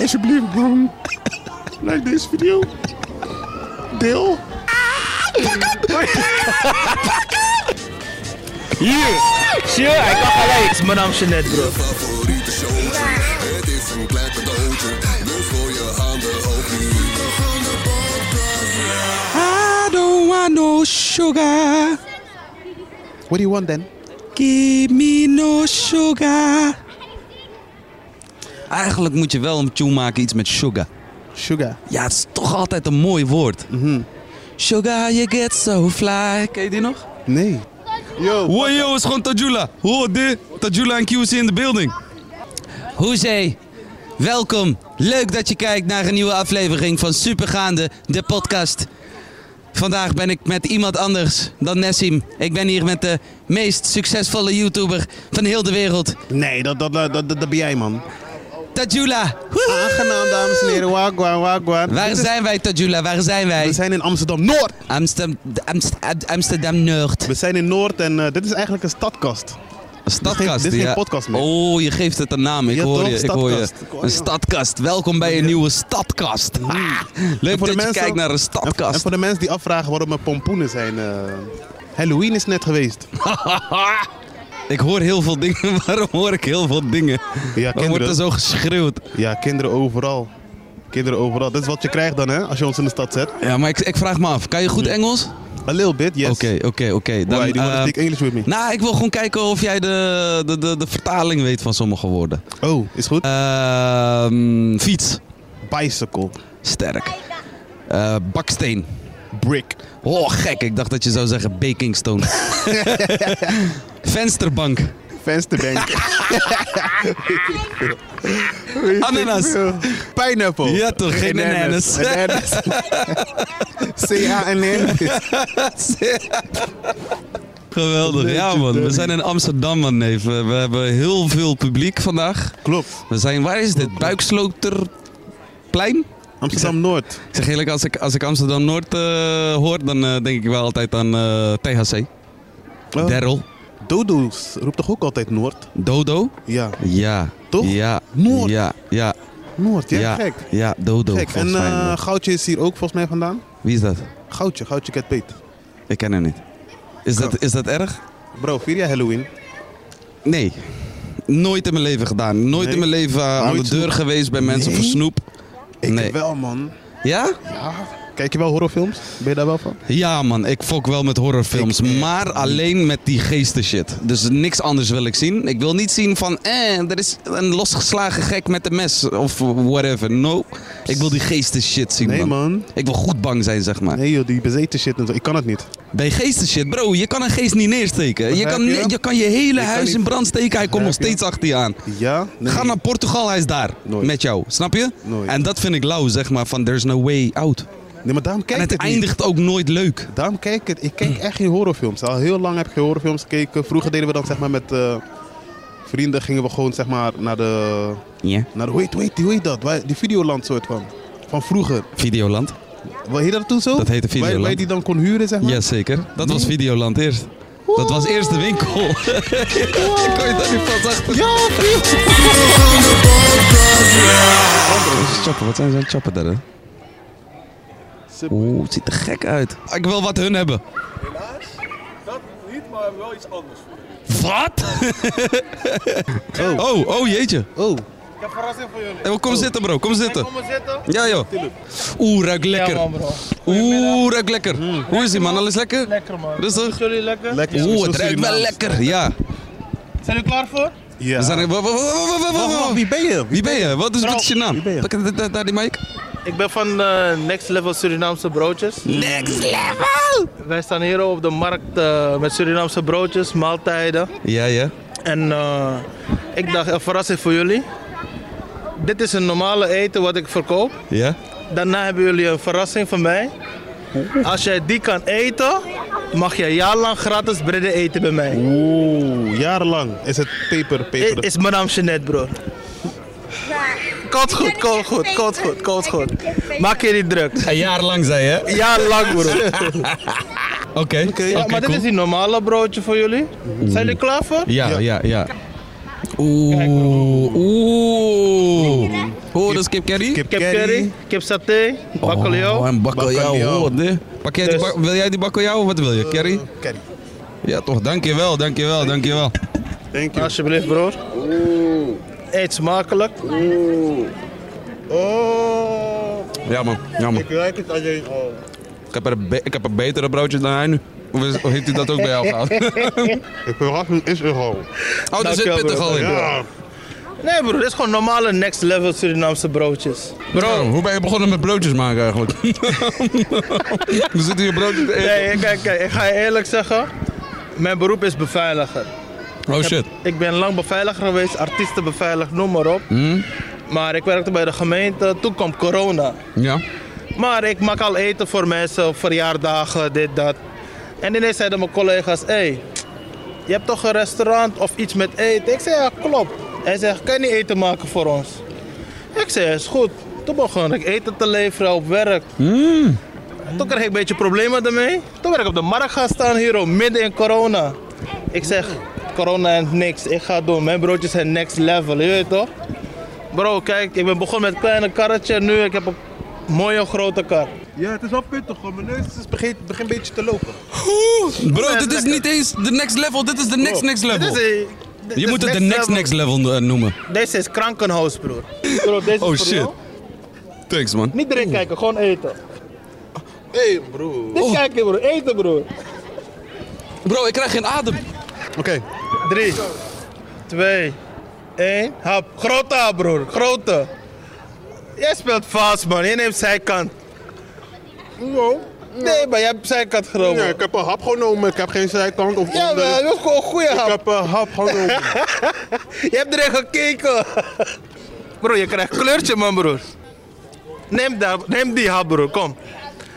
Alsjeblieft, man. Like deze video. Deel. Hier! Zie je, hij kan gelijk. Mijn naam is net, bro. favoriete showtje. Het is een klein cadeautje, dus gooi je handen ook niet. I don't want no sugar. What do you want then? Give me no sugar. Eigenlijk moet je wel een tune maken iets met sugar. Sugar. Ja, het is toch altijd een mooi woord. Mhm. Sugar, you get so fly. Ken je die nog? Nee. Yo. Wow, yo, is gewoon Tajula. Hoor dit. Tajula en QC in de building. Hoezee. Welkom. Leuk dat je kijkt naar een nieuwe aflevering van Supergaande, de podcast. Vandaag ben ik met iemand anders dan Nessim. Ik ben hier met de meest succesvolle YouTuber van heel de wereld, Nee, dat, dat, dat, dat, dat ben jij, man. Tajula. Woehoe. Aangenaam, dames en heren. Wagwan, wagwan. Waar zijn wij, Tajula? Waar zijn We wij? zijn in Amsterdam-Noord. Amsterdam, Amst, Am- Amsterdam Noord. We zijn in Noord en eh, dit is eigenlijk een stadkast. Stadkast, dit is geen ja. podcast meer. Oh, je geeft het een naam. Ik Ja, hoor toch? je, ik hoor je. Stadkast. Ik hoor Een je. stadkast. Welkom bij een nieuwe stadkast. Ha, Leuk dat je kijkt naar een En, en stadkast. voor de mensen die afvragen waarom er pompoenen zijn. eh, Halloween is net geweest. Ik hoor heel veel dingen. Waarom hoor ik heel veel dingen? Waarom wordt er kinderen. zo geschreeuwd? Ja, kinderen overal. Kinderen overal. Dat is wat je krijgt dan, hè, als je ons in de stad zet. Ja, maar ik, ik vraag me af. Kan je goed Engels? A little bit, yes. Oké, oké, oké. Dan, Why, do you wanna eh, speak English with me? Nou, ik wil gewoon kijken of jij de, de, de, de vertaling weet van sommige woorden. Oh, is goed. Ehm, fiets. Bicycle. Sterk. Eh, baksteen. Brick. Oh, gek. Ik dacht dat je zou zeggen baking stone. Vensterbank. Vensterbank. Ananas. Pineapple. Ja, toch, geen ananas. Ananas. C-A-N-N. Geweldig. Ja, man. We zijn in Amsterdam, man, neef. We we hebben heel veel publiek vandaag. Klopt. We zijn, waar is dit? Buiksloterplein? Amsterdam-Noord. Ik zeg eerlijk, als ik, als ik Amsterdam-Noord eh, hoor, dan eh, denk ik wel altijd aan eh, THC. Oh, Daryl. Dodo's roept toch ook altijd Noord? Dodo. Ja. Ja. Toch? Ja. Noord. Ja. Ja. Noord, ja, ja. gek. Ja, Dodo. Gek. En volgens mij, eh, man. Goudje is hier ook volgens mij vandaan. Wie is dat? Goudje, Goudje Catpeet. Ik ken hem niet. Is dat, is dat erg? Bro, vier jij Halloween? Nee. Nooit in mijn leven gedaan. Nooit Nee? in mijn leven eh, aan Nooit de deur snoep? geweest bij mensen Nee? voor snoep. Ik nee. wel, man. Ja? Kijk je wel horrorfilms? Ben je daar wel van? Ja man, ik fok wel met horrorfilms, maar alleen met die geesten shit. Dus niks anders wil ik zien. Ik wil niet zien van, eh, er is een losgeslagen gek met een mes of whatever. No, ik wil die geesten shit zien Nee, man. man. Ik wil goed bang zijn zeg maar. Nee joh, die bezeten shit en zo. Ik kan het niet. Bij geesten shit, bro, je kan een geest niet neersteken. Je Begrijp kan, je? je kan je hele kan huis niet- in brand steken, hij komt nog Begrijp je? steeds achter je aan. Ja? Nee. Ga naar Portugal, hij is daar. Nooit. Met jou, snap je? Nooit. En dat vind ik lauw, zeg maar, van there's no way out. Nee, maar daarom en kijk het ik niet. eindigt ook nooit leuk. Daarom kijk ik het. Ik kijk echt geen horrorfilms. Al heel lang heb ik geen horrorfilms gekeken. Vroeger deden we dan zeg maar met eh, vrienden gingen we gewoon zeg maar naar de... Ja. Naar de wait, wait, hoe heet dat? Waar- Die Videoland soort van. Van vroeger. Videoland. Wat heet dat toen zo? Dat heette Waar- Waar, je Videoland. die dan kon huren zeg maar? Jazeker. Dat was Videoland eerst. Dat was eerst de winkel. Ik kon je daar niet vast achter. Ja, Oh, Choppen, wat zijn zo'n choppen daar? hè? Super. Oeh, het ziet er gek uit. Ik wil wat hun hebben. Wat? Oh, oh jeetje. Oh, Eh, Kom zitten bro, kom zitten. Oh. Kom maar zitten. Ja joh. Oeh, ruikt Ja, lekker. man, bro. Mm. Oeh, ruikt lekker. Hoe is die man? Alles lekker? Lekker, man. Rustig. Jullie lekker? lekker. Oeh, Zo het ruikt wel Surinaams. lekker. Ja. Zijn jullie klaar voor? Ja. We zijn- wa- wa- wa- wa- wa- wa- wa- Wacht, wacht, wie ben je? Wie ben je? Wat is, wat is je naam? Wie ben je? Pak het- daar- Daar die mic. Ik ben van eh, Next Level Surinaamse Broodjes. Next level! Wij staan hier op de markt eh, met Surinaamse broodjes, maaltijden. Ja, ja. En eh, ik dacht, een verrassing voor jullie. Dit is een normale eten wat ik verkoop. Ja? Daarna hebben jullie een verrassing van mij. Als jij die kan eten, mag je jaarlang gratis bredden eten bij mij. Oeh, jarenlang is het peper, I- peper. Is mijn naam Jeanette, broer. Komt goed, komt goed, komt goed, komt goed. Maak je niet druk. Een jaar lang zei je? Jaarlang, broer. Oké. Ja, maar dit is die normale broodje voor jullie. Zijn jullie klaar voor? Ja, ja, ja. Oeh, oeh. Oh, dat is kip curry? Kip Kip curry, kip saté, bakkeljauw. Oh, en bakkeljauw. Bakkeljauw. hoorde. Pak jij die Dus- Eh. bak- wil jij die bakkeljauw of wat wil je? Curry? Curry. Ja toch, dankjewel, dankjewel, dankjewel. Thank you. Alsjeblieft, broer. Eet smakelijk. Oh, Ja man, ja man. ruik het alleen oh. al. Ik heb, er be- ik heb er betere broodjes dan hij nu. Of, is- of heeft hij dat ook bij jou gehad? De verrassing is er al. Oh, daar zit Dankjewel, pittig al in. Ja. Nee, broer, dit is gewoon normale next level Surinaamse broodjes. Bro, hoe ben je begonnen met broodjes maken eigenlijk? We zitten hier broodjes te eten. Nee, kijk, kijk, ik ga je eerlijk zeggen. Mijn beroep is beveiliger. Oh shit. Ik ben lang beveiliger geweest, artiestenbeveiligd, noem maar op. Maar ik werkte bij de gemeente, toen kwam corona. Ja. Maar ik maak al eten voor mensen, verjaardagen, dit, dat. En ineens zeiden mijn collega's, hé, hey, je hebt toch een restaurant of iets met eten? Ik zei, ja, klopt. Hij zegt, kan je niet eten maken voor ons? Ik zei, is goed. Toen begon ik eten te leveren op werk. Toen kreeg ik een beetje problemen ermee. Toen ben ik op de markt gaan staan hier, oh, midden in corona. Ik zeg, corona en niks, ik ga doen. Mijn broodjes zijn next level, je weet toch? Bro, kijk, ik ben begonnen met een kleine karretje en nu ik heb een mooie grote kar. Ja, het is wel pittig gewoon. Mijn neus is begint begin een beetje te lopen. Bro, Ja, dit is lekker. Oh, niet eens de next level, dit is de next next level. Dit is een- dit Je is moet het de next next level eh, noemen. Deze is krankenhuis, broer. Bro, deze Oh, is voor shit. Oh. jou. Thanks man. Niet erin kijken, gewoon eten. Hé, hey, bro. Oh. Dit kijken, broer. Eten, broer. Bro, ik krijg geen adem. Oké. Drie, twee, één. Hap. Grote hap, broer. Grote. Jij speelt vast, man. Je neemt zijkant. Nee, maar jij hebt zijkant Ja, genomen. ik heb een hap genomen. Ik heb geen zijkant of Ja, onder. maar dat is gewoon een goede Ik hap. heb een hap genomen. Je hebt erin gekeken. Bro, je krijgt kleurtje, man, broer. Neem, dat, neem die hap, broer, kom.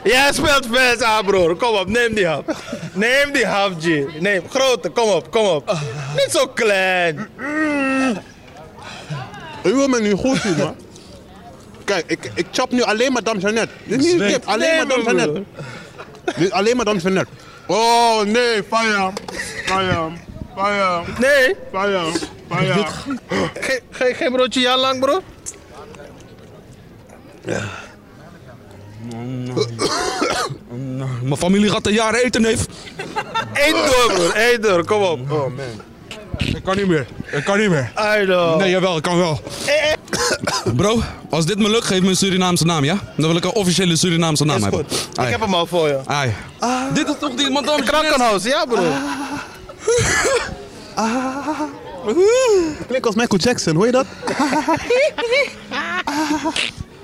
Jij speelt best aan, broer. Kom op, neem die hap. Neem die hap, G. Neem, grote, kom op, kom op. Niet zo klein. U wil me nu goed zien, man. Kijk, ik, ik chap nu alleen Madame Jeannette. Dit is niet een tip, alleen Nee, Madame broer. Jeannette. Dit is alleen Madame Jeannette. Oh nee, fire. Fire. Fire. Nee, Fire. Fire. ge, ge, geen broodje jaar lang, broer. Mijn familie gaat een jaar eten, neef. Eet door, broer, eet door, kom op. Oh man. Ik kan niet meer. Ik kan niet meer. I know. Nee, jawel, ik kan wel. Eh, Bro, als dit me lukt, geef me een Surinaamse naam, ja? Dan wil ik een officiële Surinaamse naam is hebben. goed. Ik Ai. heb hem Ah. al voor je. Ai. Dit is toch die madame Krankenhuis, ja, broer. Ah. Klinkt als Michael Jackson, hoor je dat?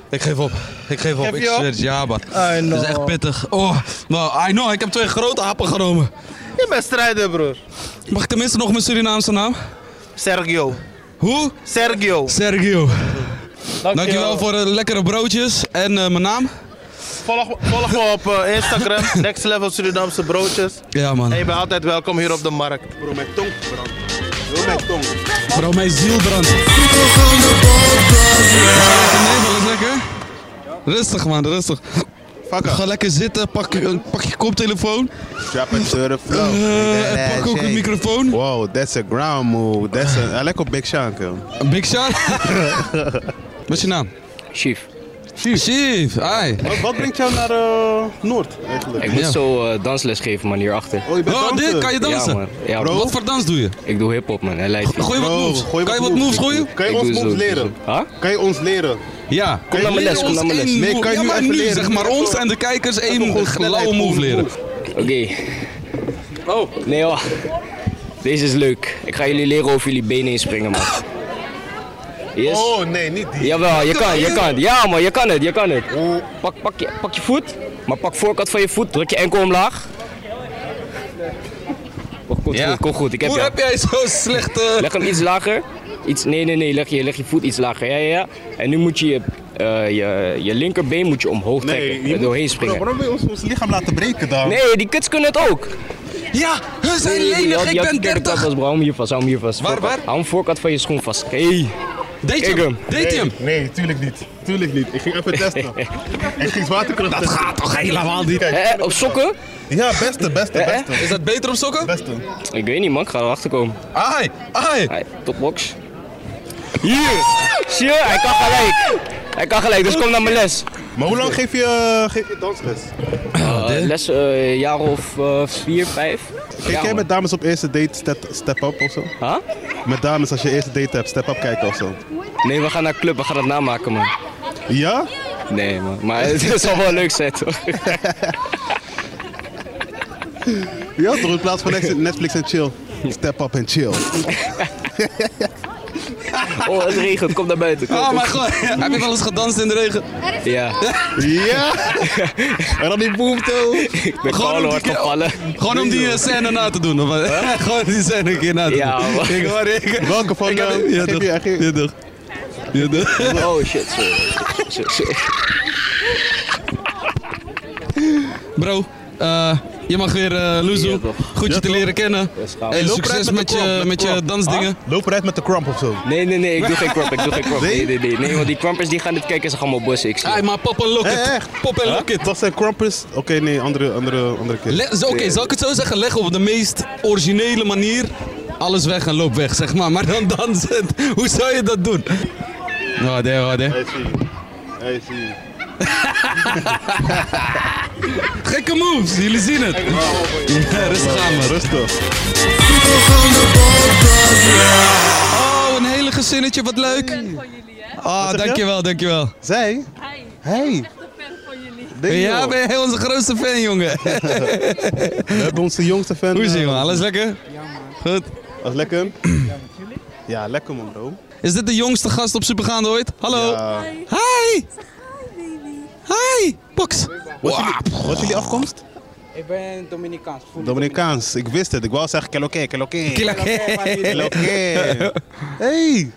Ik geef op. Ik geef op. Geef ik je op? zweer het, ja, man. I know. Het is echt pittig. Oh, nou, I know. Ik heb twee grote happen genomen. Je bent strijder, broer. Mag ik tenminste nog mijn Surinaamse naam? Sergio. Hoe? Sergio. Sergio. Dankjewel voor de lekkere broodjes en eh, mijn naam. Volg, volg me op eh, Instagram, Next Level Surinaamse Broodjes. Ja, man. En je bent altijd welkom hier op de markt. Bro, mijn tong brandt. Bro, mijn tong. Bro, mijn ziel brandt. Nee, wel is lekker. Rustig, man, rustig. Ga lekker zitten, pak, je- pak je koptelefoon. Drop it to the floor. eh, en pak ook een microfoon. Wow, that's a ground move. That's a, I like a big shank. Big Sean. Wat is je naam? Chief. Chief, Chief, ai. wat, wat brengt jou naar eh, Noord eigenlijk? Ik moet Ja. zo eh, dansles geven, man, hierachter. Oh, je bent Oh, danser. dit, kan je Ja, dansen? man. Ja, Bro. Wat voor dans doe je? Ik doe hip-hop, man. Hij leidt. Gooi wat Bro, moves. Oh, gooi kan je wat moves gooien? Kan je Ik ons doe zo, moves ik doe leren? zo. Huh? Kan je ons leren? Ja. Kom naar mijn les, Leer kom ons naar mijn les. één Nee, move. kan je ja, nu maar even nu, leren? zeg maar Even ons gewoon- en de kijkers gewoon één snelheid, lauwe gewoon move leren. move. Oké. Oh. Nee, hoor. Deze is leuk. Ik ga jullie leren over jullie benen heen springen, man. Yes. Oh nee, niet die. Jawel, je kan, je kan. Ja, man, je kan het, je kan het. Pak, pak, je, pak je voet, maar pak voorkant van je voet, druk je enkel omlaag. Oh, komt Ja. goed, komt goed. Ik heb Hoe jou. heb jij zo'n slechte... Leg hem iets lager. Iets, nee, nee, nee. Leg je, leg je voet iets lager. Ja, ja, ja. En nu moet je je, eh, je, je linkerbeen moet je omhoog trekken. je er moet- doorheen Bro, springen. waarom wil je ons, ons lichaam laten breken dan? Nee, die kuts kunnen het ook. Ja, we zijn Die- die- die- lenig, die- ik ben die- die- die- 30. Vast, bro. Hou hem hier vast, hou hem hier vast. Waar, Voorkant. waar? Hou hem voorkant van je schoen vast. Hey. Deed je Ik hem? hem. Deed je hem? Nee, tuurlijk niet. Tuurlijk niet. Ik ging even testen. ik ging zwaartekracht Dat gaat toch helemaal niet? Hè, hè, op sokken? Ja, beste, beste, Eh, eh? beste. Is dat beter op sokken? Beste. Ik weet niet, man. Ik ga erachter komen. Ai, ai. Hey, topbox. Hier. Zie je? Hij kan gelijk. Hij kan gelijk, dus kom naar mijn les. Maar hoe lang geef je, eh, geef je dansles? Eh, les eh jaar of eh, vier, vijf. Kijk Ja, jij man. met dames op eerste date step, step up of zo? Huh? Met dames als je eerste date hebt, step up kijken of zo. Nee, we gaan naar club. We gaan dat namaken, man. Ja? Nee, man. Maar het zal wel leuk zijn, toch? Ja, toch in plaats van Netflix- Netflix en chill. Step up en chill. Oh, het regent. Kom naar buiten. Kom, Oh kom. mijn god, heb je wel eens gedanst in de regen? Ja. Ja! En dan die boemto. Ik Gewoon ben gewoon om hard die- gevallen. Gewoon om die eh, scène na te doen. Of, eh, Gewoon die scène een keer na te Ja, doen. man. Ik hoor ik. Welke van ik heb- de- Ja, geef toch. je- geef- Ja, toch. Ja, toch. Oh, shit. Sorry. Sorry, sorry. Bro, eh, je mag weer eh Luzu. Ja, toch. Goed je Ja, te toch. leren kennen. gaaf. En Hey, loop succes eruit met met de klomp, je, met de met je klomp. dansdingen. Loop eruit met de cramp of zo. Nee, nee, nee. Ik doe geen crop. Ik doe geen crop. Nee? Nee, nee, nee. nee want die crampers die gaan dit kijken. Ze gaan mijn bossen. Ik zie. Hey, maar pop en Hey, locket. echt? Pop en locket. Dat zijn crampers. Oké, nee, andere, andere, andere keer. Le- zo- Oké, zal ik het zo zeggen? Leg op de meest originele manier alles weg en loop weg, zeg maar. Maar dan dansend. Hoe zou je dat doen? Oh, nee, oh, nee. Hij zie je. Hij zie je. Gekke moves, jullie zien het. Ja, rustig aan, man. Rustig. Oh, een hele gezinnetje, wat leuk. Oh, zeg je? dankjewel, dankjewel. Zij? Hey. Nee, Ja, joh. ben jij onze grootste fan, jongen. We hebben onze jongste fan. Hoe is het, eh, jongen? Alles lekker? Goed. Was lekker? Ja, lekker man bro. Is dit de jongste gast op Supergaande ooit? Hallo. Ja. Hi. Hi, Box. Wat is jullie- wat is jullie afkomst? Ik ben Dominicaans. voel me Dominicaans, ik wist het. Ik wou zeggen keloké, keloké. Kila- Dominicaans. Maar niet- Keloké. Hey.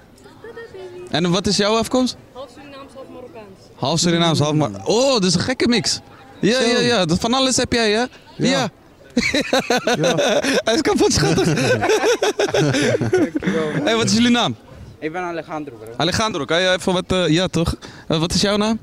En wat is jouw afkomst? Half Surinaams, half Marokkaans. Half Surinaams, half Mar. Oh, dat is een gekke mix. Ja, ja, ja. Dat van alles heb jij, hè? Ja. Hij is kapot schattig. hey, wat is jullie naam? Ik ben Alejandro, bro. Alejandro, kan je even wat... eh, ja, toch? Eh, wat is jouw naam?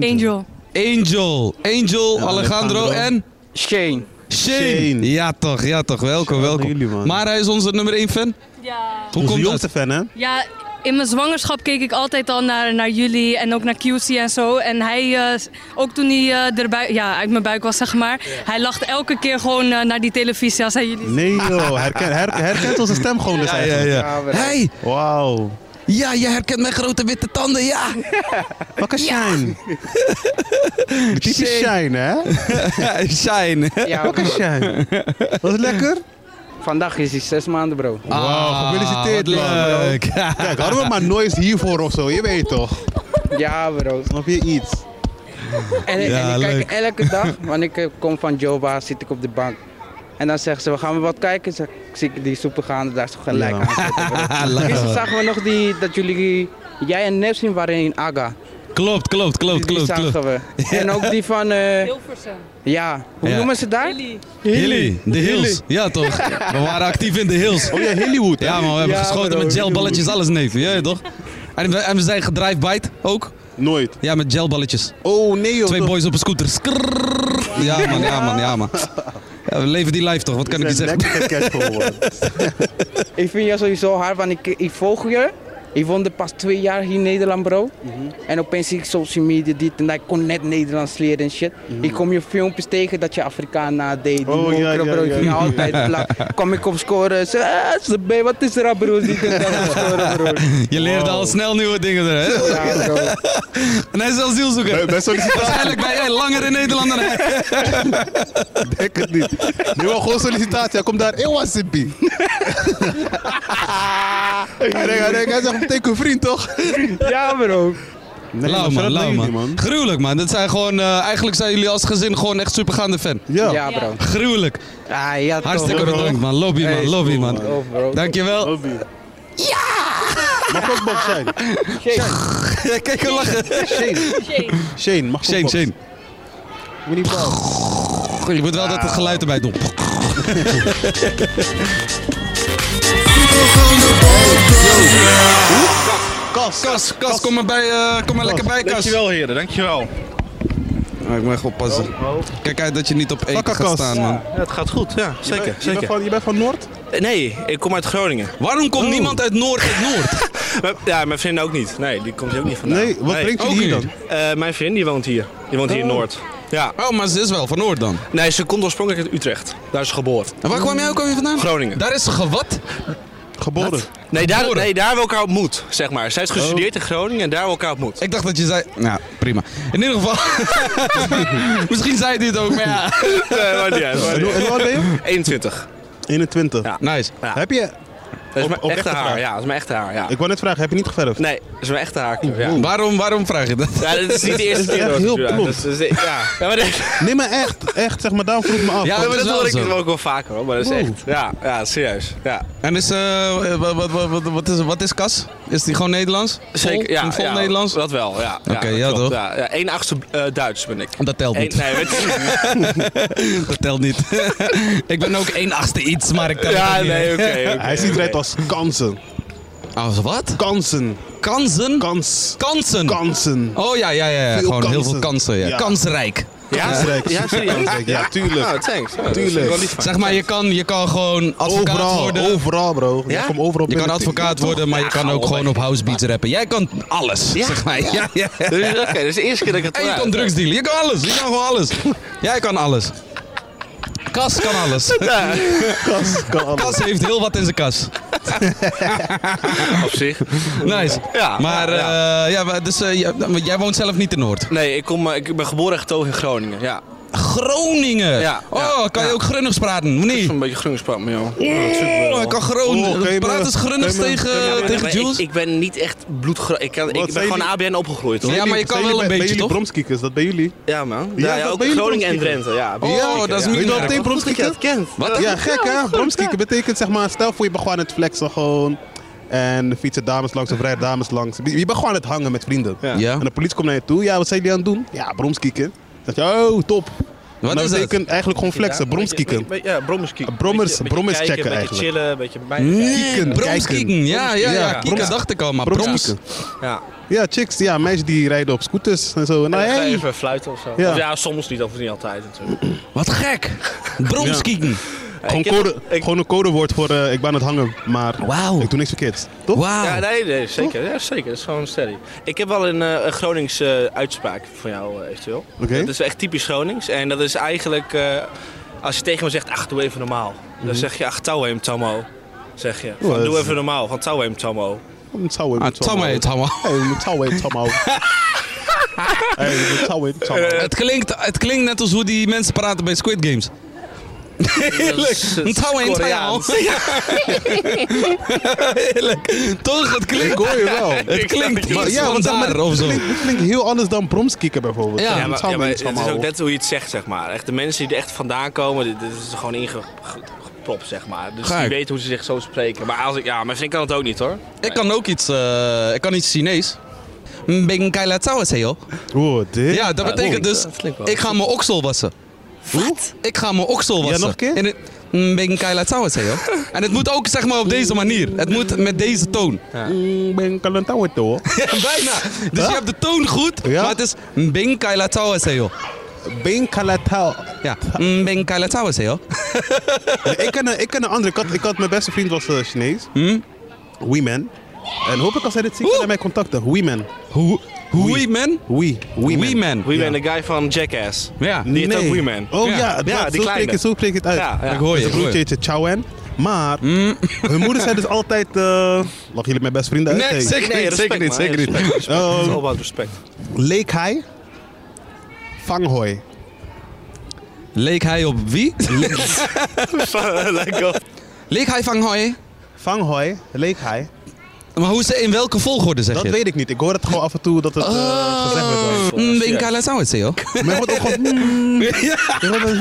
Angel. Angel. Angel, Alejandro, Alejandro. en... Shane. Shane. Shane. Ja toch, ja toch. Welkom, Shout welkom. naar jullie, man. maar hij is onze nummer 1 fan. Ja. Hoe Onze komt dat? jongste fan hè? ja, in mijn zwangerschap keek ik altijd al naar, naar jullie en ook naar QC en zo. En hij, eh, ook toen hij eh, erbui- ja, uit mijn buik was, zeg maar. Hij lacht elke keer gewoon eh, naar die televisie als hij jullie ziet. Nee joh, herken, her- herkent onze stem gewoon dus Ja, eigenlijk. ja. Hey, Wauw. ja, je herkent mijn grote witte tanden, ja. Wat een shine. De typische shine hè? Shine. Ja, bro. Shine. Was het lekker? Vandaag is hij zes maanden, bro. Ah. Wauw, gefeliciteerd wat man. bro. leuk. Kijk, hadden we maar noise hiervoor of zo, je weet toch. Ja, bro. Snap je iets? En, Ja, en ik leuk. kijk elke dag, wanneer ik eh, kom van Joba, zit ik op de bank. En dan zeggen ze, we gaan we wat kijken. Zeg, ik zie die soepen gaan, daar is toch gelijk aan zitten, bro. Ah, Gisteren zagen we nog die, dat jullie, jij en Nepsin waren in Aga. Klopt, klopt, klopt, Die, die klopt, zagen klopt. we. En ook die van, eh, Hilversum. ja, hoe Ja. noemen ze daar? Hilly, de Hills. Ja toch, we waren actief in de Hills. Oh ja, Hollywood. hè? Ja man, we hebben Ja, geschoten bro, met gelballetjes, Hilly. alles neef. Ja toch? En we, en we zijn gedrive-byte ook. Nooit. Ja, met gelballetjes. Oh nee joh. Twee toch? boys op een scooter. Skrrrr. Ja man, ja man, ja man. Ja, we leven die live toch, wat kan ik je Zijn zeggen? Lekker gecatcht geworden. Ik vind jou sowieso hard, want ik, ik volg je. Ik woonde pas twee jaar hier in Nederland, bro. En opeens zie ik social media dit en dat. Ik kon net Nederlands leren en shit. Ik kom je filmpjes tegen dat je Afrikaan nadeed. Die Oh, ja, monkere, ja, bro. Ik ja, ging ja. altijd plat. Kom ik op scoren. Ze, ah, ze B, wat is er, aan, bro? Dit en dat op scoren, bro. Je leert al snel nieuwe dingen er, hè? Ja, bro. En hij is asielzoeker. Bij sollicitatie Waarschijnlijk ben jij langer in Nederland dan hij. denk ik het niet. Nu wel gewoon sollicitatie. Hij komt daar. Ewa Sippie. Hij denkt- hij denkt, hij zegt teken vriend toch? Ja, bro. Nee, Lauw man, lauw man. Gruwelijk man. Dat zijn gewoon, eh, eigenlijk zijn jullie als gezin gewoon echt supergaande fan. Ja. Ja, bro. Gruwelijk. Ah, ja, toch. Hartstikke bedankt man. Lobby man, Hey, lobby Oh, man. bro. Dankjewel. Lobby. Ja! Mag ook box zijn. Kijk hoe lachen. Shane. Shane, mag ook Shane, box. Shane. Moet niet box. Je moet wel dat het geluid erbij doen. Kas. Kas, Kas, kom maar, bij, eh, kom maar lekker bij Kas. Dankjewel heren, dankjewel. Ah, ik moet echt oppassen. Kijk uit dat je niet op één Bakker gaat Kas. staan man. Ja, het gaat goed, ja, Je zeker, bent- Je bent, zeker. van, je bent van Noord? Nee, ik kom uit Groningen. Waarom komt niemand uit Noord uit Noord? Mijn- Ja, mijn vriendin ook niet. Nee, die komt hier ook niet vandaan. Nee, wat brengt jullie ook hier niet. dan? Eh, mijn vriendin die woont hier. Die woont hier in Noord. Ja. Oh, maar ze is wel van Noord dan. Nee, ze komt oorspronkelijk uit Utrecht. Daar is ze geboren. En waar kwam jij ook alweer vandaan? Groningen. Daar is ze gewat. Geboren. Nee, daar, nee, daar hebben we elkaar ontmoet, zeg maar. Zij heeft gestudeerd in Groningen en daar hebben we elkaar ontmoet. Ik dacht dat je zei... Nou, prima. In ieder geval... Misschien zei hij het ook, maar ja. Nee, maakt niet uit, maakt En hoe niet en hoe oud ben je? uit. 21. 21. Ja. Nice. Ja. Heb je... Dat is Op- mijn op echte echte haar, vraag. ja. Dat is mijn echte haar, ja. Ik wou net vragen, heb je niet geverfd? Nee, dat is mijn echte haar. Ja. Waarom, waarom vraag je dat? Ja, dat is niet de eerste Dat is keer. echt hoor, heel ja. plomp. Dat is- dat is- Ja, Ja, maar dat- Nee, maar echt. Echt, zeg maar, daarom vroeg ik me af. Ja, ja, maar Oh, is dat wel hoor ik zo. wel ook wel vaker hoor, maar dat is Wow. echt. Ja, ja, serieus. Ja. En is, eh, wat, wat, wat, wat, wat is, wat is Kas? Is die gewoon Nederlands? Zeker, Vol, ja, Een vol ja, Nederlands? Dat wel, ja. Oké, dat ja, klopt, toch? Ja, ja, 1 achtste eh, Duits ben ik. Dat telt Eén- niet. nee, weet- Dat telt niet. ik ben ook één achtste iets, maar ik tel het ja, ook niet. nee, oké. oké, Hij ziet oké. eruit als kansen. Als wat? Kansen. Kansen? Kans. kansen. Kansen. Oh ja, ja, ja. ja. Veel Gewoon heel veel kansen. kansen. Ja. Ja. Kansrijk. Ja, Kansrijk. ja, serieus. Kansrijk, Ja, tuurlijk. Nou, thanks. Ja, dat Tuurlijk. vind ik wel lief van Zeg maar, je kan, je kan gewoon advocaat Overal, worden. overal bro. Ja? Je komt overal Je kan binnen. advocaat worden, maar je kan Ja, ook gewoon op housebeats rappen. Jij kan alles, Ja? zeg maar. Ja, ja. je. Dus, Oké, dat is de eerste keer dat ik het En je hoor. kan drugs dealen. Je kan alles. Je kan gewoon alles. Jij kan alles. Kas kan alles. Ja, Kas, kan alles. Kas heeft heel wat in zijn kas. op zich. Nice. Ja, Maar, eh, ja. ja, maar dus, eh, ja, want jij woont zelf niet in Noord. Nee, ik, kom, eh, ik ben geboren en getogen in Groningen. Ja, Groningen. Ja, oh, ja, kan je ja. ook Grunnigs praten? Of ik niet? een beetje groenspat, maar joh. Oh, ik kan Oh, oké, Groningen. maar- Praat eens Grunnigs oké, maar- tegen, Ja, maar tegen ik- Jules. Ik, ben niet echt bloedgro... Ik, kan, Wat ik ben zijn gewoon jullie? ABN opgegroeid, hoor. Ja, maar je kan Zijn wel jullie een bij- beetje, Bij jullie toch? bromskiekers, dat ben jullie? Ja, man. Ja, Ja, dat ook ben je Groningen en bromskikker. Drenthe, ja. Oh, Bromskikker, dat is ja. Weet je minder. wel meteen Goed dat je bromskieken? dat kent. Ja, gek hè? Bromskieken betekent zeg maar, stel voor je bent gewoon aan het flexen gewoon. En er fietsen dames langs of rijden dames langs. Je je bent gewoon aan het hangen met vrienden. Ja. En de politie komt naar je toe. Ja, wat zijn jullie aan het doen? Ja, bromskieken. Dan zeg je, oh, top. Wat dat is dat? betekent eigenlijk gewoon flexen, bromskieken. Ja, bromskieken. Brommers- Beetje- beetje brommers kijken, checken eigenlijk. Beetje chillen, beetje bij. Kieken, kijken. Bromskieken. Ja, ja, ja. Ja, Kieken broms- dacht ik al, maar broms. Bromskieken. Ja. Ja, chicks, ja, meisjes die rijden op scooters en zo. Nou, Dan ga je hey. even fluiten of zo. Ja. Of ja, soms niet, of niet altijd natuurlijk. Wat gek. Bromskieken. gewoon, Ik heb- code, ik- gewoon een codewoord voor eh, ik ben aan het hangen, maar Wauw. ik doe niks verkeerds. Toch? Wauw. Ja, nee, nee, zeker. Ja, zeker. Dat is gewoon steady. Ik heb wel een eh, een Gronings eh, uitspraak van jou, eh, eventueel. Oké. Dat is echt typisch Gronings. En dat is eigenlijk, eh, als je tegen me zegt, ach, doe even normaal. Dan zeg je, ach, touw hem, Tammo. Zeg je. Van, Mhm. dat doe is- even normaal, van touw hem, Tammo. Een touwen. Ah, Tammo heet Tammo. Hey, een touwen, Tammo. Hey, een touwen, Tammo. Het klinkt, het klinkt net als hoe die mensen praten bij Squid Games. Heerlijk. is- Een touw en een touw. Koreaans. Heerlijk. Toch, het klinkt... Hoor je wel. Het klinkt Maar iets ja, van want dat- maar daar dat of zo. klinkt- Dat klinkt heel anders dan bromskikken bijvoorbeeld. Ja, Ja, Een maar, touwen, ja, maar het Tammo. is ook net hoe je het zegt, zeg maar. Echt, de mensen die er echt vandaan komen, dit, dit is gewoon ingepropt, zeg maar. Dus Ga die ik. weten hoe ze zich zo spreken. Maar als ik, ja, mijn vriend kan het ook niet, hoor. Ik kan ook iets... eh, ik kan iets Chinees. Ben Kaila Tsao is joh. Oh, dit? Ja, dat betekent dus... dat klinkt wel. Ik ga mijn oksel wassen. Wat? Ik ga mijn oksel wassen. nog een keer? In het, Mm, ben Kaila Tsao is joh. En het moet ook zeg maar op deze manier. Het moet met deze toon. Ik Mm, ben kalentouwen toch? Bijna. Dus je hebt de toon goed, Ja. maar het is Mbing Kaila Tawa Seo. Ben kalatau. Ja, Mbing Kaila Tawa Seo. Hmm? Ik ken een- ik ken een andere. Ik had, ik had mijn beste vriend was eh, Chinees. Wee Man. En hoop ik als hij dit ziet, kan hij mij contacten. We man. We man? We. We man. We Ja. Man, de guy van Jackass. Ja. Die heet Nee. ook We Man. Oh ja, dat- ja die zo, spreek kleine. je, zo spreek je het uit. Ja, ja. Ik hoor je, Zijn ik hoor je. Hmm? broertje heet Chowan. Maar hun moeder zei dus altijd... eh lachen jullie mijn best vrienden uit? Nee, Hey. zeker Nee, niet, respect, zeker niet, man. zeker niet. Respect, respect. Ehm, It's all about respect. Leek hij? Vanghoi. Leek hij op wie? Lekker. Leek hij van Hoi? Vanghoi, leek hij. Maar hoe ze, in welke volgorde zeg Dat je? het? weet ik niet. Ik hoor het gewoon af en toe dat het eh, gezegd wordt. door Oh, mensen. mm, ben ik aan het zou het zeggen, hoor. Maar het wordt ook gewoon... mm, je hoort wel,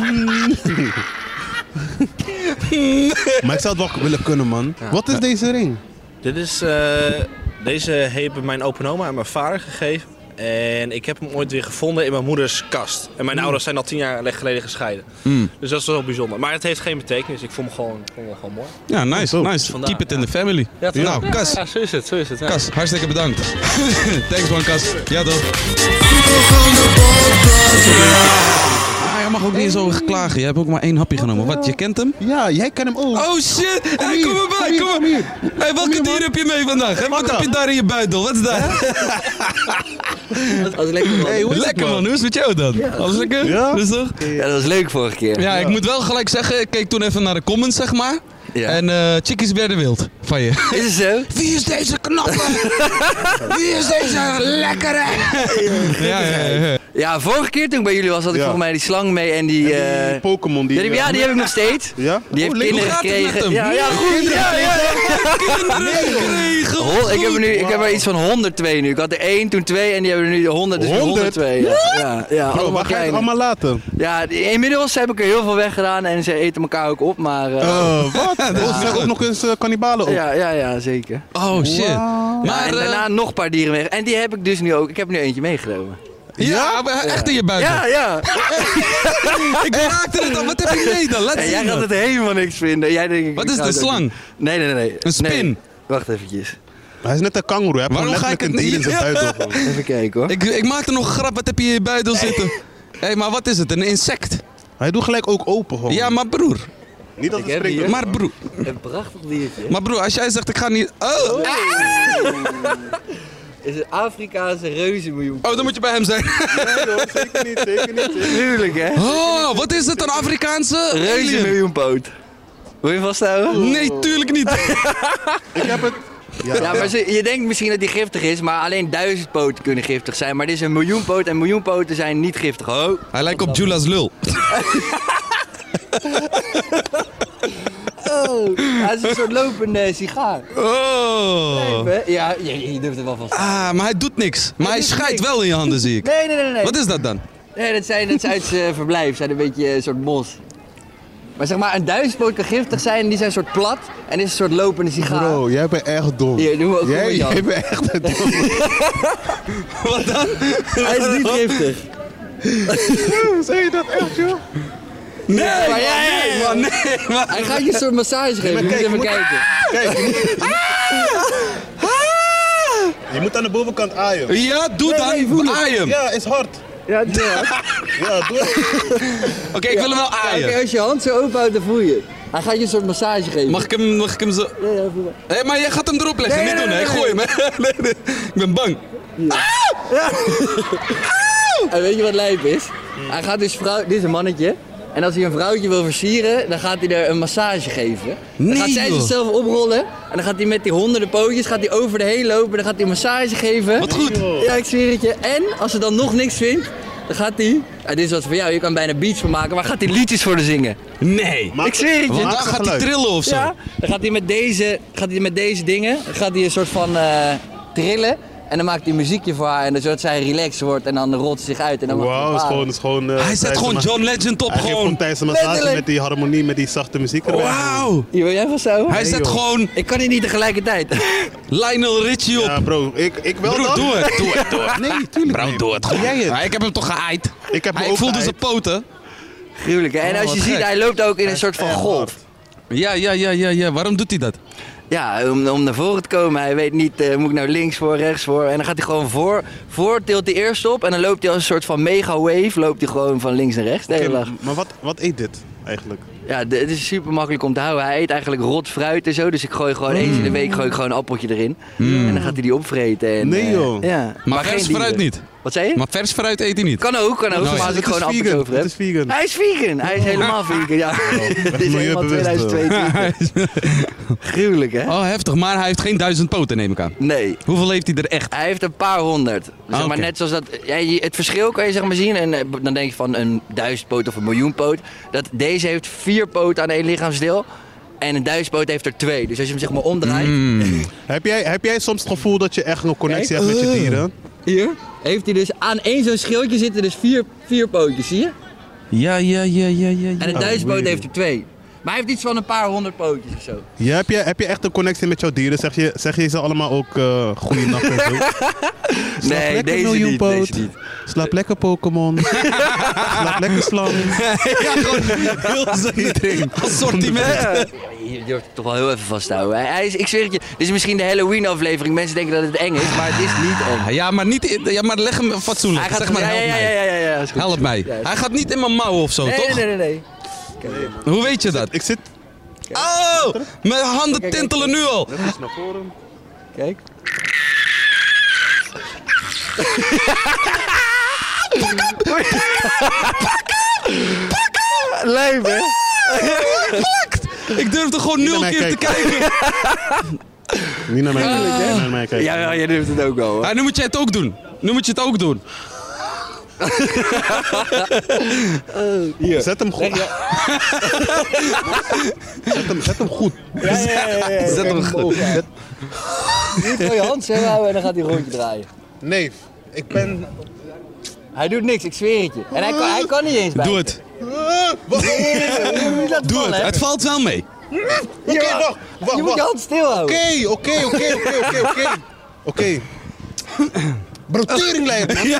mm. maar ik zou het wel willen kunnen, man. Wat is deze ring? Dit is, eh, deze hebben mijn open oma en mijn vader gegeven. En ik heb hem ooit weer gevonden in mijn moeders kast. En mijn Mm. ouders zijn al tien jaar geleden gescheiden. Dus dat is wel bijzonder. Maar het heeft geen betekenis. Ik vond hem gewoon, vond hem gewoon mooi. Ja, nice, Zo. nice. Vandaar, Keep it in the family. Nou, Kas, Ja, zo is het. Zo is het. Kas, hartstikke bedankt. Thanks man, Kas. Ja toch. Ah, je mag ook niet zo klagen. Je hebt ook maar één hapje genomen. Wat, je kent hem? Ja, jij kan hem ook. Oh shit! Hey, hier, kom kom erbij, hier, kom kom maar. hier. Hey, welke dier heb je mee vandaag? hè? Wat heb je daar in je buidel? Wat is dat? Dat was lekker, man. Hey, hoe is het, Lekker man, hoe is het met jou dan? Alles lekker? Ja. Dus toch? Ja, dat was leuk vorige keer. Ja, ik moet wel gelijk zeggen, ik keek toen even naar de comments, zeg maar. Ja. En eh chickies werden wild van je. Is het zo? Wie is deze knappe? Wie is deze lekkere? Ja, ja, ja. Ja, vorige keer toen ik bij jullie was, had ik Ja. volgens mij die slang mee en die... eh, Die Pokémon die... ja, die, ja, die heb ik nog steeds. Ja? Die heeft Oh, leuk. kinderen Hoe gaat het met gekregen. hem? Ja, ja, goed. Ja, ja, ja. Regen. Hol- Oh, ik, heb er nu, ik heb er iets van 102 nu. Ik had er één, toen twee en die hebben er nu 100, dus 100? 102. Ja, ja, ja Bro, waar ga allemaal je het klein. allemaal laten? Ja, die- inmiddels heb ik er heel veel weggedaan en ze eten elkaar ook op, maar... eh, Eh, wat? Oh, zeg ook nog eens eh, kannibalen op. ja, ja, ja, zeker. Oh shit. Maar, Maar, en eh, daarna nog een paar dieren weg. En die heb ik dus nu ook. Ik heb er nu eentje meegenomen. ja, maar echt in je buidel. Ja, ja. Ik raakte het al. Wat heb je mee dan? Laat Ja, zien jij gaat nou? dan. het helemaal niks vinden. Jij denkt, ik- Wat ik is ga de het ook slang? niet. Nee, nee, nee. Een spin? Nee. Wacht eventjes. Hij is net een kangoeroe. Hij heeft Waarom gewoon ga ik letterlijk een dier in zijn het niet- buidel. gewoon. Even kijken hoor. Ik, ik maakte nog een grap. Wat heb je in je buidel zitten? Hé, hey, maar wat is het? Een insect? Hij doet gelijk ook open Oh. gewoon. Ja, maar broer. Niet als Ik een heb hier- sprinkler. Maar broer. Een prachtig diertje. Maar broer, als jij zegt ik ga niet... Oh, Is een Afrikaanse reuzenmiljoen. oh dan moet je bij hem zijn. Nee hoor, zeker niet, zeker niet. zeker niet. Tuurlijk hè? Oh, wat is het? Een Afrikaanse alien? Reuzenmiljoenpoot. Wil je hem vasthouden? Nee, tuurlijk niet. Ik heb het... Ja, maar ze- je denkt misschien dat die giftig is, maar alleen duizend poten kunnen giftig zijn. Maar dit is een miljoenpoot en miljoenpoten zijn niet giftig. Oh. Hij lijkt op Jula's lul. oh. Hij is een soort lopende sigaar. Oh. Ja, je, je durft er wel van. Ah, maar hij doet niks. Maar hij doet scheidt niks. wel in je handen, zie ik. Nee, nee, nee, nee. Wat is dat dan? Nee, dat zijn, dat zijn uit zijn verblijf. zijn een beetje eh, een soort mos. Maar zeg maar, een duizendpoot kan giftig zijn. Die zijn een soort plat en is een soort lopende sigaar. Bro, jij bent echt dom. Hier, doen we ook jij, gewoon Jan. jij bent echt een dom. Wat dan? Hij is niet giftig. Zeg je dat echt, joh? Nee, Maar ja, nee, ja, man, nee, man. Hij gaat je een soort massage geven. maar moet kijk, je even moet- kijken. Je moet aan de bovenkant aaien. Ja, doe dan. Aaien. Oké, Ja, is hard. Ja, doe Ja, doe het. ik wil hem wel aaien. als je hand zo openhoudt, dan voel je het. Hij gaat je een soort massage geven. Mag ik hem, mag ik hem zo... Nee, ja, voel maar. Hé, maar jij gaat hem erop leggen. Nee, niet doen, nee, hè. nee, Gooi hem, hè. Nee, nee. Ik ben bang. En weet je wat lijp is? Hij gaat dus vrouw... Dit is een mannetje. En als hij een vrouwtje wil versieren, dan gaat hij er een massage geven. Dan Nee, gaat zij joh. zichzelf oprollen. En dan gaat hij met die honderden pootjes gaat hij over de heen lopen. Dan gaat hij een massage geven. Wat goed. Ja, ik zweer het je. En als ze dan nog niks vindt, dan gaat hij... Ja, dit is wat voor jou, je kan bijna beats van maken. Maar gaat hij liedjes voor de zingen? Nee. ik zweer het je. Want Maak dan een gaat geluid. hij trillen of zo. Ja, dan gaat hij met deze, gaat hij met deze dingen gaat hij een soort van eh, trillen. En dan maakt hij muziekje voor haar. En dan zodat zij relaxed wordt. En dan rolt ze zich uit. En dan mag Wauw, hij is haar. gewoon... Is gewoon eh, Hij zet Thijs gewoon ma- John Legend op, Hij geeft gewoon. gewoon tijdens een massage Letterlijk. met die harmonie, met die zachte muziek erbij. Wauw. Hier, wil jij van zo? Hij zet gewoon Ik kan hier niet tegelijkertijd. Lionel Richie op. Ja, bro. Ik, ik wel Broer, dan. doe het. Doe het, doe het. Nee, tuurlijk Bro, niet. doe het gewoon. Jij het. Ja, ik heb hem toch geaaid? Ik heb hem Hij dus ook voelde zijn geaaid. poten. Gruwelijk, hè? En Oh, als je wat ziet, gek. hij loopt ook in een soort van erg golf. Ja, ja, ja, ja, ja. Waarom doet hij dat? Ja, om, om naar voren te komen. Hij weet niet, eh, moet ik nou links voor, rechts voor? En dan gaat hij gewoon voor. Voor tilt hij eerst op. En dan loopt hij als een soort van mega wave. Loopt hij gewoon van links naar rechts de hele Oké, dag. maar wat, wat eet dit eigenlijk? Ja, d- het is super makkelijk om te houden. Hij eet eigenlijk rot fruit en zo. Dus ik gooi gewoon eens in Mm. de week gooi ik gewoon een appeltje erin. En dan gaat hij die opvreten. En, Nee, eh, joh. ja. Maar vers geen dieren. fruit niet? Wat zei je? Maar vers fruit eet hij niet. Kan ook, kan ook. maar als ik gewoon appels over heb. Hij is vegan. Hij is helemaal vegan. Ja. Dit is helemaal 2022. Gruwelijk, hè? Oh, heftig. Maar hij heeft geen duizend poten, neem ik aan. Nee. Hoeveel heeft hij er echt? Hij heeft een paar honderd. Zeg maar oké. net zoals dat. Ja, je- het verschil kan je zeg maar zien. En eh, dan denk je van een duizend poot of een miljoen poot. Dat deze heeft vier poten aan één lichaamsdeel. En een duizend poot heeft er twee. Dus als je hem zeg maar omdraait. Heb, jij, heb jij soms het gevoel dat je echt een connectie hebt met je eh. dieren? Hier heeft hij dus aan één zo'n schildje zitten dus vier, vier pootjes, zie je? Ja, ja, ja, ja, ja. En een Oh, duizendpoot weird. heeft er twee. Maar hij heeft iets van een paar honderd pootjes of zo. Ja, heb, je, heb je echt een connectie met jouw dieren? Zeg je, zeg je ze allemaal ook eh goeienacht en zo? Slaap Nee, lekker, deze miljoenpoot. niet, deze niet. Slaap lekker Pokémon. Slaap lekker slang. ja, gewoon heel zijn Ja, assortiment. Je durft het toch wel heel even vasthouden. Hij- hij is, ik zweer het je, dit is misschien de Halloween aflevering. Mensen denken dat het eng is, maar het is niet eng. Ja, maar, niet, in- ja, maar leg hem fatsoenlijk. Hij gaat- zeg maar, ja, help ja, mij. ja, ja, ja, ja, is goed, help is goed. mij. Ja, is Hij goed. gaat niet in mijn mouwen of zo, nee, toch? nee, nee, nee. Hoe weet je dat? Ik zit... Oh! Mijn handen tintelen nu al. Kijk. Lijp, hè? Ik durfde gewoon Niet nul naar mij keer te kijken. Niet naar mij kijken. Niet naar mij kijken. Ja, ja, jij durft het ook wel, hoor. Ah, nu moet je het ook doen. Nu moet je het ook doen. Hier. Zet hem goed. zet, hem, zet hem goed. Zet hem goed. Niet voor je hand zo houden en dan gaat hij een rondje draaien. Neef, ik ben... Hij doet niks, ik zweer het je. En hij kan, hij kan niet eens bij. Doe het. Eh, Doe het. Het valt wel mee. Oké, wacht. Wacht, Je moet je wacht. hand stil houden. Oké, oké, oké, oké, oké, oké. Oké. Bro, teringlijn, man.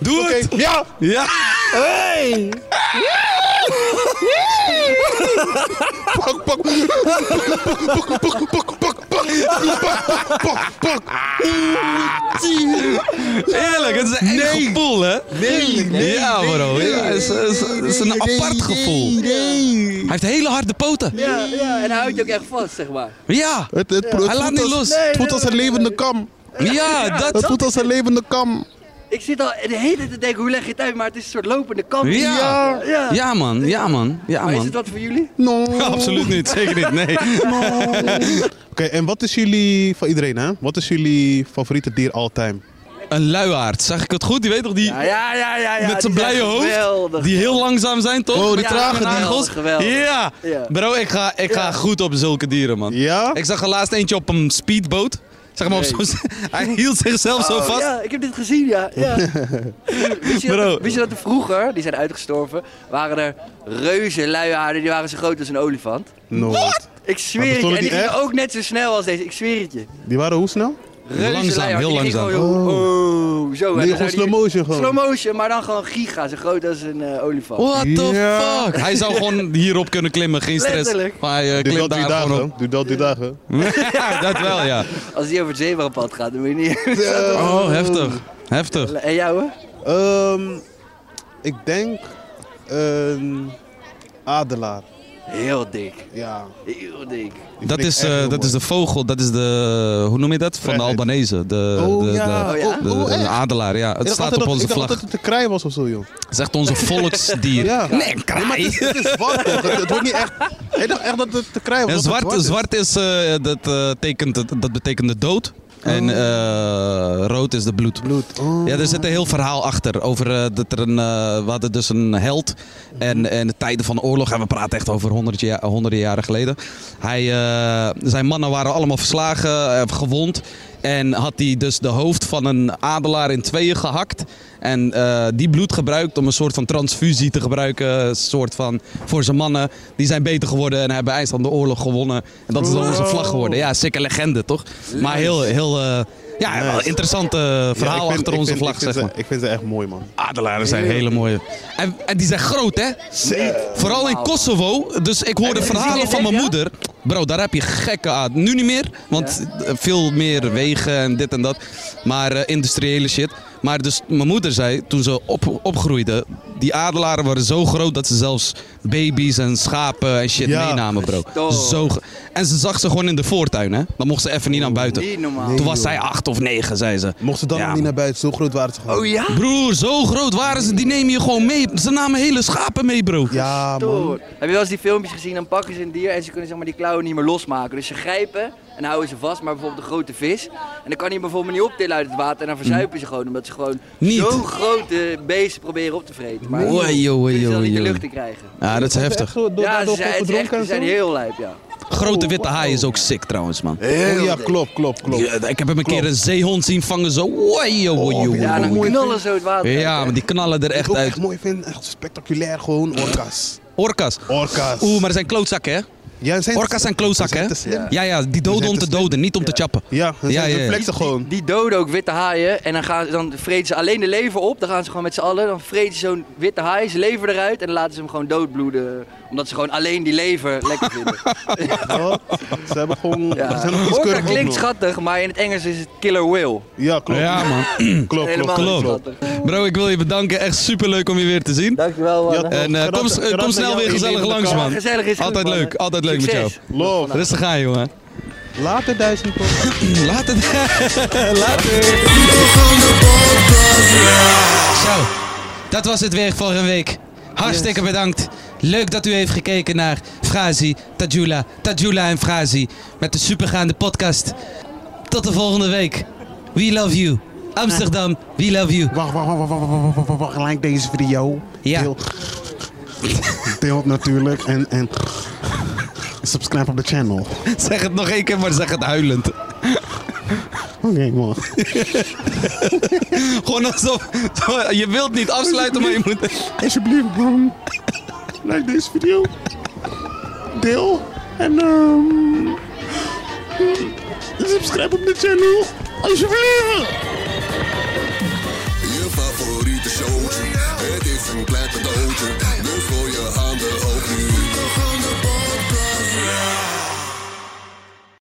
Doe Oké, het. ja. Ja. Pak, pak. Pak, pak, pak, pak, pak, pak, pak, pak. Eerlijk, het is een eng gevoel, hè? Nee, nee, ja, nee, bro. nee, ja, het is, het is- het is een nee, nee, apart gevoel. nee. Hij heeft hele harde poten. Ja, ja, en hij houdt je ook echt vast, zeg maar. Ja. Het, het, het Hij laat voelt niet als- los. Het voelt als een levende kam. Ja, Het dat. voelt als een levende kam. Ik zit al de hele tijd te denken, hoe leg je het uit? Maar het is een soort lopende kant. Ja. ja. Ja, man. Ja, man. Ja, Maar is man. het wat voor jullie? No. Absoluut niet. Zeker niet. Nee. Oké, en wat is jullie, van iedereen hè, wat is jullie favoriete dier all time? Een luiaard. Zag ik het goed? Die weet toch die... Ja, ja, ja, ja. ja, met zijn die blije zijn hoofd, geweldig. die heel langzaam zijn toch? Oh, die Met trage nagels. dieren. Geweldig, Ja. Ja. Bro, ik ga, ik ga goed op zulke dieren, man. Ja? Ik zag er laatst eentje op een speedboot. Zeg maar op zo'n... Hij hield zichzelf zo Oh, vast. Ja, ik heb dit gezien, ja. ja. wist, je dat, Bro. er- wist je dat er vroeger, die zijn uitgestorven, waren er reuze luiaarden, die waren zo groot als een olifant. Nooit. Ik Maar zweer het je, bestonden en die die gingen echt? ook net zo snel als deze, ik zweer het je. Die waren hoe snel? Reuze Langzaam, luiaarden, heel die gingen langzaam. gewoon heel- oh, zo. en Nee, gewoon dan zouden slow die- motion gewoon. Slow motion, maar dan gewoon giga, zo groot als een eh, olifant. What the Ja. fuck? Hij zou gewoon hierop kunnen klimmen, geen stress. Letterlijk. Maar hij eh, Duurt wel klimt drie daar gewoon dagen. op. Duurt wel drie dagen. ja, dat wel, ja. Als die over het zebrapad gaat, dan moet je niet... Oh, heftig. Heftig. en jou, hè? Ehm, ik denk een adelaar. Heel dik. Ja. Heel dik. die vind Dat ik is, echt eh, heel dat is de mooi. vogel, dat is de... Hoe noem je dat? Van de Vrijheid. Albanese. De, Oh, de, ja. de- Oh, ja? de- Oh, de echt? adelaar, ja. Het Ik dacht staat altijd op dat- onze Ik dacht vlag. altijd dat het een kraai was of zo, joh. Het is echt onze volksdier. Ja. Nee, een kraai. Nee, maar het is, het is zwart, toch? Het, het wordt niet echt... Ik dacht echt dat het te krijgen was. Ja, dat het zwart, is. zwart is, eh, dat, eh, tekent, dat betekent de dood. En eh, rood is de bloed. Oh. Bloed. Oh. Ja, er zit een heel verhaal achter. Over eh, dat er een. eh, we hadden dus een held. En, en de tijden van de oorlog. En we praten echt over honderd ja- honderden jaren geleden. Hij, eh, zijn mannen waren allemaal verslagen, eh, gewond. En had hij dus de hoofd van een adelaar in tweeën gehakt. En eh, die bloed gebruikt om een soort van transfusie te gebruiken. Een soort van voor zijn mannen. Die zijn beter geworden en hebben IJsland de oorlog gewonnen. En dat is dan onze vlag geworden. Ja, sikke legende toch? Maar heel, heel eh, ja, wel Nice. interessante eh, verhaal Ja, ik vind- achter ik onze vind- vlag, ik vind zeg ze- maar. Ah, Ik vind ze echt mooi, man. Adelaren zijn hele mooie. En, en die zijn groot, hè? Vooral in Kosovo. Dus ik hoorde verhalen van mijn moeder. Bro, daar heb je gekke aan. Nu niet meer, want eh, veel meer wegen en dit en dat. Maar eh, industriële shit. Maar dus mijn moeder zei, toen ze op, opgroeide, die adelaren waren zo groot dat ze zelfs baby's en schapen en shit Ja. meenamen, bro. Zo ge- en ze zag ze gewoon in de voortuin, hè? Dan mocht ze even niet naar buiten. Niet normaal. Toen Nee, was joh. zij acht of negen, zei ze. Mocht ze dan nog niet naar buiten, zo groot waren ze gewoon. Broer, zo groot waren ze, die nemen je gewoon mee. Ze namen hele schapen mee, bro. Ja, Door. Heb je wel eens die filmpjes gezien? Dan pakken ze een dier en ze kunnen zeg maar, die klauwen niet meer losmaken. Dus ze grijpen en houden ze vast, maar bijvoorbeeld een grote vis. En dan kan hij bijvoorbeeld niet optillen uit het water en dan verzuipen ze gewoon. Omdat ze gewoon Mm. Niet. zo'n grote beesten proberen op te vreten. Maar Oei, oei, ze dat niet de oei, oei. lucht te krijgen. Ja, dat is heftig. ja, ze zijn, het is echt, ze zijn heel lijp, ja. Grote witte haai is ook sick trouwens, man. Heel Oh ja, dik. klopt, klopt, klopt. Oh, ik heb hem een keer een zeehond zien vangen zo. Wai, joh, joh, joh. Ja, dan knallen zo het water. uit, Ja, hè. maar die knallen er echt uit. Echt mooi vind, echt spectaculair gewoon, orka's. Orka's. Orka's. Oeh, maar dat zijn klootzakken, hè? Ja, zijn Orka's zijn klootzakken, Ze zijn hè? te slim. Ja, ja, die doden om te doden, niet om te chappen. Ja, dat zijn ja, ja. reflexen gewoon. Die doden ook witte haaien en dan, gaan, dan vreten ze alleen de lever op. Dan gaan ze gewoon met z'n allen, dan vreten ze zo'n witte haai, zijn lever eruit en dan laten ze hem gewoon doodbloeden. Omdat ze gewoon alleen die lever lekker vinden. Ze hebben gewoon... Ja. Ze zijn nog iets Orca keuriger ook klinkt nog. schattig, maar in het Engels is het killer whale. Ja, klopt. Ja, man. klopt, Helemaal klopt. niet schattig. Bro, ik wil je bedanken. Echt super leuk om je weer te zien. Dankjewel, man. Ja, En eh, kom, Karat- eh, kom karat met snel weer jou gezellig in de langs, kar. man. Gezellig is goed, Altijd man. leuk, altijd leuk met jou. Succes. Love. Rustig aan, jongen. Later, duizend ton. Later. Later. Zo, dat was het weer voor een week. Hartstikke bedankt. Leuk dat u heeft gekeken naar Frazi, Tajula, Tajula en Frazi met de supergaande podcast. Tot de volgende week. We love you. Amsterdam, we love you. Wacht, wacht, wacht, wacht, wacht, wacht, wacht, wacht, wacht, like deze video. Ja. Deel, deel natuurlijk en, en subscribe op de channel. Oké, Zeg het nog één keer, maar zeg het huilend. man. Gewoon alsof je wilt niet afsluiten, maar je moet. Alsjeblieft, man. Like deze video. Deel en ehm subscribe op de channel. Alsjeblieft. Je favoriete showtje. Het is een klein cadeautje. Dus gooi je handen hoog nu.